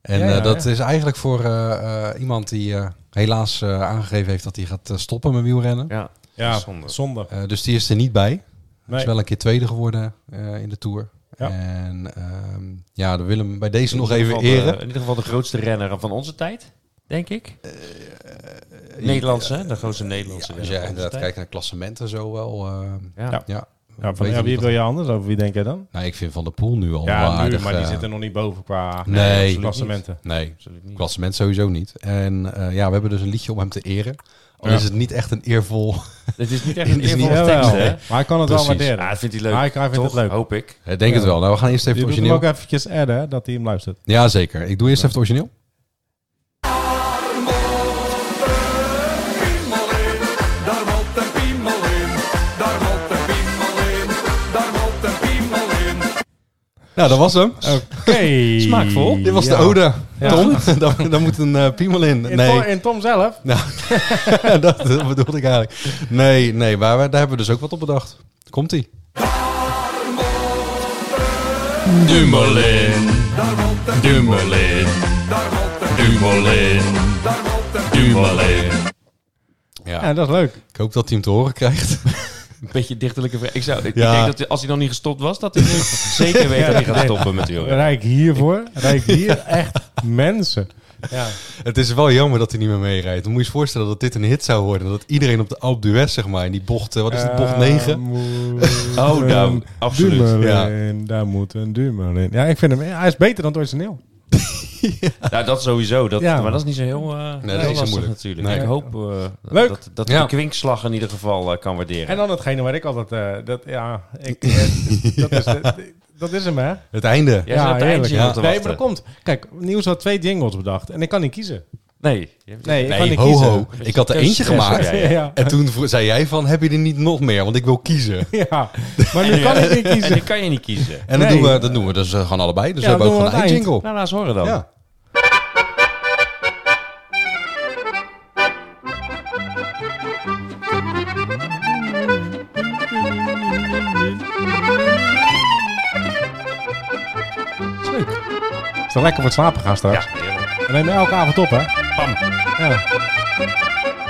[SPEAKER 1] En
[SPEAKER 2] Ja,
[SPEAKER 1] eh,
[SPEAKER 2] ja,
[SPEAKER 1] dat
[SPEAKER 2] ja.
[SPEAKER 1] is eigenlijk voor eh, eh, iemand die eh, helaas eh, aangegeven heeft dat hij gaat eh, stoppen met wielrennen.
[SPEAKER 3] Ja,
[SPEAKER 2] Ja,
[SPEAKER 3] Zonde.
[SPEAKER 2] zonde.
[SPEAKER 1] Eh, dus die is er niet bij.
[SPEAKER 2] Nee.
[SPEAKER 1] Is wel een keer tweede geworden eh, in de Tour.
[SPEAKER 2] Ja.
[SPEAKER 1] En ehm, ja, we willen hem bij deze nog
[SPEAKER 3] In ieder
[SPEAKER 1] even
[SPEAKER 3] geval de-
[SPEAKER 1] eren.
[SPEAKER 3] in ieder geval de grootste renner van onze tijd, denk ik.
[SPEAKER 1] Eh,
[SPEAKER 3] Nederlandse, eh, hè? de grootste Nederlandse
[SPEAKER 1] Als
[SPEAKER 3] renner
[SPEAKER 1] je
[SPEAKER 3] van onze
[SPEAKER 1] eh, inderdaad
[SPEAKER 3] tijd.
[SPEAKER 1] kijkt naar klassementen zo wel. eh,
[SPEAKER 3] Ja.
[SPEAKER 2] Ja.
[SPEAKER 1] ja.
[SPEAKER 2] Ja, van,
[SPEAKER 1] Weet
[SPEAKER 2] ja,
[SPEAKER 1] ik
[SPEAKER 2] wie
[SPEAKER 1] niet
[SPEAKER 2] wil je anders over? Wie denk jij dan?
[SPEAKER 1] Nou, ik vind Van der Poel nu al wel
[SPEAKER 2] Ja, nu,
[SPEAKER 1] aardig.
[SPEAKER 2] maar die
[SPEAKER 1] eh,
[SPEAKER 2] zitten nog niet boven qua
[SPEAKER 1] Nee, absoluut niet.
[SPEAKER 2] klassementen.
[SPEAKER 1] Nee,
[SPEAKER 3] Absoluut niet.
[SPEAKER 1] klassement sowieso niet. En eh, ja, we hebben dus een liedje om hem te eren. Al
[SPEAKER 2] Ja.
[SPEAKER 1] Oh, is het niet echt een eervol...
[SPEAKER 3] Het is niet echt
[SPEAKER 1] Het
[SPEAKER 3] een
[SPEAKER 1] is niet-
[SPEAKER 3] eervolle
[SPEAKER 2] Jawel,
[SPEAKER 3] tekst, hè?
[SPEAKER 2] maar hij kan het
[SPEAKER 1] Precies. Ah,
[SPEAKER 2] wel waarderen.
[SPEAKER 3] Ja, dat vindt hij leuk.
[SPEAKER 2] hij, hij vindt
[SPEAKER 3] Toch?
[SPEAKER 2] het leuk.
[SPEAKER 3] Hoop ik.
[SPEAKER 1] Ik denk Oh, het
[SPEAKER 2] Ja.
[SPEAKER 1] wel. Nou, we gaan eerst even
[SPEAKER 2] Je
[SPEAKER 1] het
[SPEAKER 2] doet hem
[SPEAKER 1] origineel.
[SPEAKER 2] ook eventjes adden, hè, dat hij hem luistert.
[SPEAKER 1] Ja, zeker. Ik doe eerst even het origineel.
[SPEAKER 4] Daar rolt een piemel in, daar rolt een piemel in, daar rolt een piemel in.
[SPEAKER 1] Nou, dat was hem.
[SPEAKER 2] Oké.
[SPEAKER 3] Smaakvol.
[SPEAKER 1] Dit was
[SPEAKER 2] Ja.
[SPEAKER 1] de ode.
[SPEAKER 2] Ja.
[SPEAKER 1] Tom, daar, daar moet een eh, piemel in.
[SPEAKER 2] In,
[SPEAKER 1] Nee, Nou.
[SPEAKER 2] Tom, in Tom zelf?
[SPEAKER 1] dat, dat bedoelde ik eigenlijk. Nee, nee, maar we- daar hebben we dus ook wat op bedacht. Komt-ie.
[SPEAKER 5] Dumoulin, Dumoulin,
[SPEAKER 4] Daar rolt een,
[SPEAKER 5] Dumoulin,
[SPEAKER 4] daar rolt een,
[SPEAKER 5] Dumoulin.
[SPEAKER 1] Ja.
[SPEAKER 2] Ja, dat is leuk.
[SPEAKER 1] Ik hoop dat hij hem te horen krijgt.
[SPEAKER 3] Een beetje dichterlijke vraag. Ik, zou, ik
[SPEAKER 1] Ja.
[SPEAKER 3] denk dat hij- als hij nog niet gestopt was, dat hij nu zeker weet dat hij gaat stoppen met wielrennen.
[SPEAKER 2] Rijk hiervoor. Rijk hier echt mensen. Ja.
[SPEAKER 1] Het is wel jammer dat hij niet meer meerijdt. Dan moet je je voorstellen dat dit een hit zou worden. Dat iedereen op de Alpe d'Huez, zeg maar, in die bocht... eh, Wat is het, bocht 9?
[SPEAKER 3] Oh, nou, absoluut.
[SPEAKER 2] Dumoulin, daar moet een Dumoulin. Ja, ik vind hem... Hij is beter dan het origineel.
[SPEAKER 3] Nou, dat sowieso. Dat,
[SPEAKER 2] Ja.
[SPEAKER 3] Maar dat is niet zo heel, eh heel
[SPEAKER 1] is niet zo
[SPEAKER 3] lastig
[SPEAKER 1] moeilijk.
[SPEAKER 3] natuurlijk.
[SPEAKER 1] Nee.
[SPEAKER 3] Ik hoop eh,
[SPEAKER 2] Leuk.
[SPEAKER 3] dat, dat
[SPEAKER 1] Ja.
[SPEAKER 3] de kwinkslag in ieder geval eh, kan waarderen.
[SPEAKER 2] En dan hetgene waar ik altijd... eh, dat, ja, ik, eh, dat, is, dat, dat is hem, hè?
[SPEAKER 1] Het einde.
[SPEAKER 3] Jij zit op het
[SPEAKER 2] heerlijk.
[SPEAKER 3] eindje
[SPEAKER 1] Ja.
[SPEAKER 3] om te
[SPEAKER 2] Nee, maar
[SPEAKER 3] wachten.
[SPEAKER 2] dat komt. Kijk, Nieuws had twee jingles bedacht. En ik kan niet kiezen.
[SPEAKER 3] Nee. Je hebt-
[SPEAKER 2] Nee, ik kan
[SPEAKER 1] Nee,
[SPEAKER 2] niet
[SPEAKER 1] ho
[SPEAKER 2] kiezen.
[SPEAKER 1] ho. Ik had er eentje gemaakt.
[SPEAKER 3] Ja,
[SPEAKER 2] Ja,
[SPEAKER 3] ja.
[SPEAKER 2] ja.
[SPEAKER 1] En toen vo- zei jij van, heb je er niet nog meer? Want ik wil kiezen.
[SPEAKER 2] Ja. Maar nu kan ik niet
[SPEAKER 3] En
[SPEAKER 2] kiezen.
[SPEAKER 3] die kan je niet kiezen.
[SPEAKER 1] En dat,
[SPEAKER 2] Nee.
[SPEAKER 1] doen, we, dat doen we dus eh, gewoon allebei. Dus
[SPEAKER 2] Ja,
[SPEAKER 1] we hebben ook
[SPEAKER 2] doen we
[SPEAKER 1] gewoon een
[SPEAKER 2] aan het eind.
[SPEAKER 1] eindjingle.
[SPEAKER 3] Nou, laat eens horen dan.
[SPEAKER 1] Ja.
[SPEAKER 2] Is dat lekker voor het slapen gaan straks?
[SPEAKER 3] Ja, heerlijk.
[SPEAKER 2] We nemen elke avond op, hè?
[SPEAKER 3] Bam.
[SPEAKER 2] Ja.